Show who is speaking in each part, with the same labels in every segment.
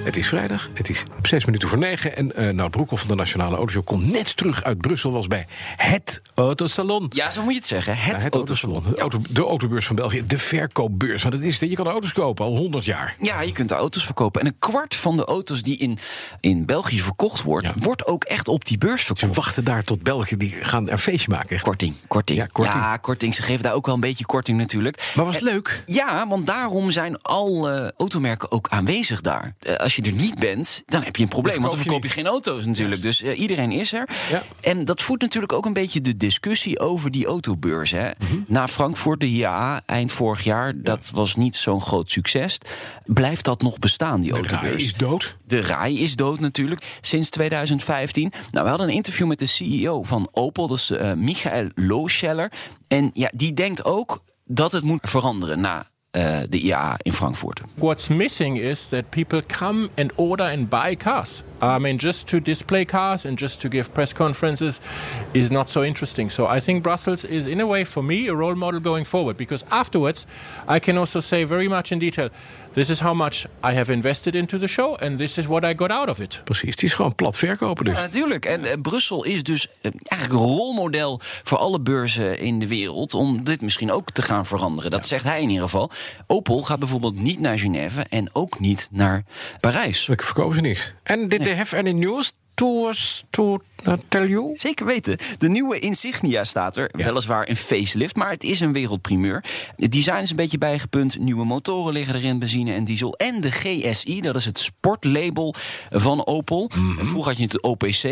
Speaker 1: Het is vrijdag, het is zes minuten voor negen. En eh Nout Broekhoff van de Nationale Autoshow komt net terug uit Brussel. Was bij het Autosalon.
Speaker 2: Ja, zo moet je het zeggen. Het,
Speaker 1: Ja, het Autosalon. De, auto, de autobeurs van België. De verkoopbeurs. Want het is, je kan auto's kopen al 100 jaar.
Speaker 2: Ja, je kunt de auto's verkopen. En een kwart van de auto's die in, in België verkocht wordt,
Speaker 1: Ja.
Speaker 2: wordt ook echt op die beurs
Speaker 1: Ze
Speaker 2: verkocht.
Speaker 1: wachten daar tot België. Die gaan een feestje maken. echt.
Speaker 2: Korting, korting.
Speaker 1: Ja, korting.
Speaker 2: Ja, korting. Ze geven daar ook wel een beetje korting natuurlijk. Eh,
Speaker 1: Maar was het leuk?
Speaker 2: Ja, want daarom zijn alle automerken ook aanwezig daar. Eh, als je er niet bent, dan heb je een probleem.
Speaker 1: Dan
Speaker 2: want dan verkoop
Speaker 1: verkoop je
Speaker 2: je geen auto's natuurlijk. Dus eh, iedereen is er.
Speaker 1: Ja.
Speaker 2: En dat voedt natuurlijk ook een beetje de discussie over die autobeurs. Hè.
Speaker 1: Mhm.
Speaker 2: Na Frankfurt, de ja, eind vorig jaar, dat was niet zo'n groot succes. Blijft dat nog bestaan, die
Speaker 1: De raai
Speaker 2: autobeurs?
Speaker 1: is dood.
Speaker 2: De RAI is dood natuurlijk, sinds 2015. Nou, we hadden een interview met de CEO van Opel, dat is eh, Michael Looscheller. En ja, die denkt ook dat het moet veranderen na eh, de IAA in Frankfurt.
Speaker 3: What's missing is that people come and order and buy cars. I mean, just to display cars and just to give press conferences is not so interesting. So I think Brussels is, in a way, for me, a role model going forward because afterwards I can also say very much in detail this is how much I have invested into the show and this is what I got out of it.
Speaker 1: Precies. Het is gewoon plat verkopen dus.
Speaker 2: Ja, natuurlijk. En eh, Brussel is dus eh, eigenlijk een rolmodel voor alle beurzen in de wereld. om dit misschien ook te gaan veranderen. Dat zegt hij in ieder geval. Opel gaat bijvoorbeeld niet naar Genève en ook niet naar Parijs.
Speaker 1: Ik verkopen ze niks. En did they have any news to us to eh, tell you?
Speaker 2: Zeker weten. De nieuwe Insignia staat er.
Speaker 1: Ja.
Speaker 2: Weliswaar een facelift, maar het is een wereldprimeur. Het design is een beetje bijgepunt. Nieuwe motoren liggen erin, benzine en diesel. En de GSI, dat is het sportlabel van Opel.
Speaker 1: Mhm.
Speaker 2: Vroeger had je het OPC.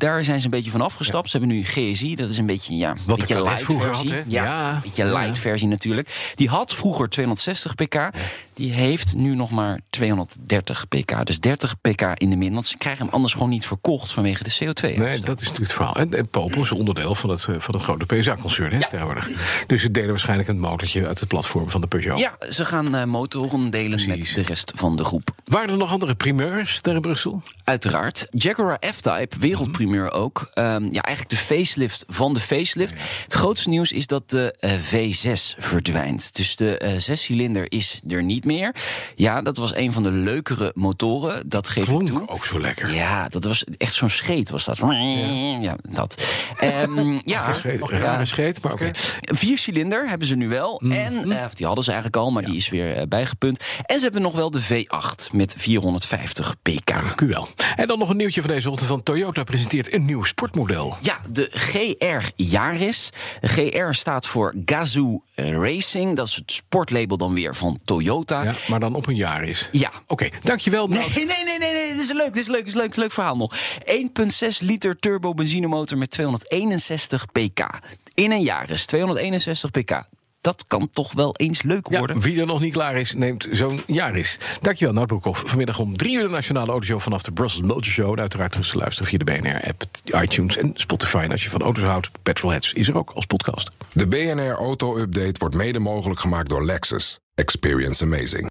Speaker 2: Daar zijn ze een beetje van afgestapt. Ze hebben nu een GSI. Dat is een beetje, ja,
Speaker 1: de
Speaker 2: beetje
Speaker 1: Cadet
Speaker 2: light
Speaker 1: vroeger
Speaker 2: versie.
Speaker 1: had, hè?
Speaker 2: ja,
Speaker 1: Ja.
Speaker 2: een beetje
Speaker 1: Ja.
Speaker 2: light versie natuurlijk. Die had vroeger 260 pk. Die heeft nu nog maar 230 pk. Dus 30 pk in de min. Want ze krijgen hem anders gewoon niet verkocht vanwege de CO2.
Speaker 1: Nee, dat is natuurlijk het verhaal. En, en Popel is onderdeel van het, eh, van het grote PSA-concern hè, tegenwoordig. Dus ze delen waarschijnlijk een motortje uit het platform van de Peugeot.
Speaker 2: Ja, ze gaan eh, motoren delen met
Speaker 1: Precies.
Speaker 2: de rest van de groep.
Speaker 1: Waren er nog andere primeurs daar in Brussel?
Speaker 2: Uiteraard. Jaguar F-Type, wereldprimeur ook. Ehm, ja, eigenlijk de facelift van de facelift. Het grootste nieuws is dat de eh, V6 verdwijnt. Dus de eh, zescilinder is er niet meer. Ja, dat was een van de leukere motoren. Dat geeft ik toe.
Speaker 1: Klonk ook zo lekker.
Speaker 2: Ja, dat was echt zo'n scheet was dat. Ja, dat. Ehm, ja,
Speaker 1: Een scheet, een
Speaker 2: ja.
Speaker 1: rare scheet, maar oké. Mm.
Speaker 2: Vier cilinder hebben ze nu wel. En, eh, of die hadden ze eigenlijk al, maar die is weer eh, bijgepunt. En ze hebben nog wel de V8 met 450 pk.
Speaker 1: Dank u wel. En dan nog een nieuwtje van deze ochtend van Toyota presenteert een nieuw sportmodel.
Speaker 2: Ja, de GR Yaris. GR staat voor Gazoo Racing. Dat is het sportlabel dan weer van Toyota.
Speaker 1: Ja, maar dan op een jaar is.
Speaker 2: Ja.
Speaker 1: Oké, dankjewel. Nout.
Speaker 2: Nee, nee, nee, nee, nee, dit is leuk, dit is leuk, dit is leuk, dit is leuk verhaal nog. 1,6 liter turbo benzinemotor met 261 pk. In een jaar is 261 pk. Dat kan toch wel eens leuk
Speaker 1: Ja,
Speaker 2: worden.
Speaker 1: wie er nog niet klaar is, neemt zo'n jaar is. Dankjewel, Nout Broekhoff. Vanmiddag om drie uur de Nationale Autoshow vanaf de Brussels Motor Show. En uiteraard terug te luisteren via de BNR-app, iTunes en Spotify. En als je van auto's houdt, Petrolheads is er ook als podcast.
Speaker 4: De BNR Auto Update wordt mede mogelijk gemaakt door Lexus. Experience amazing.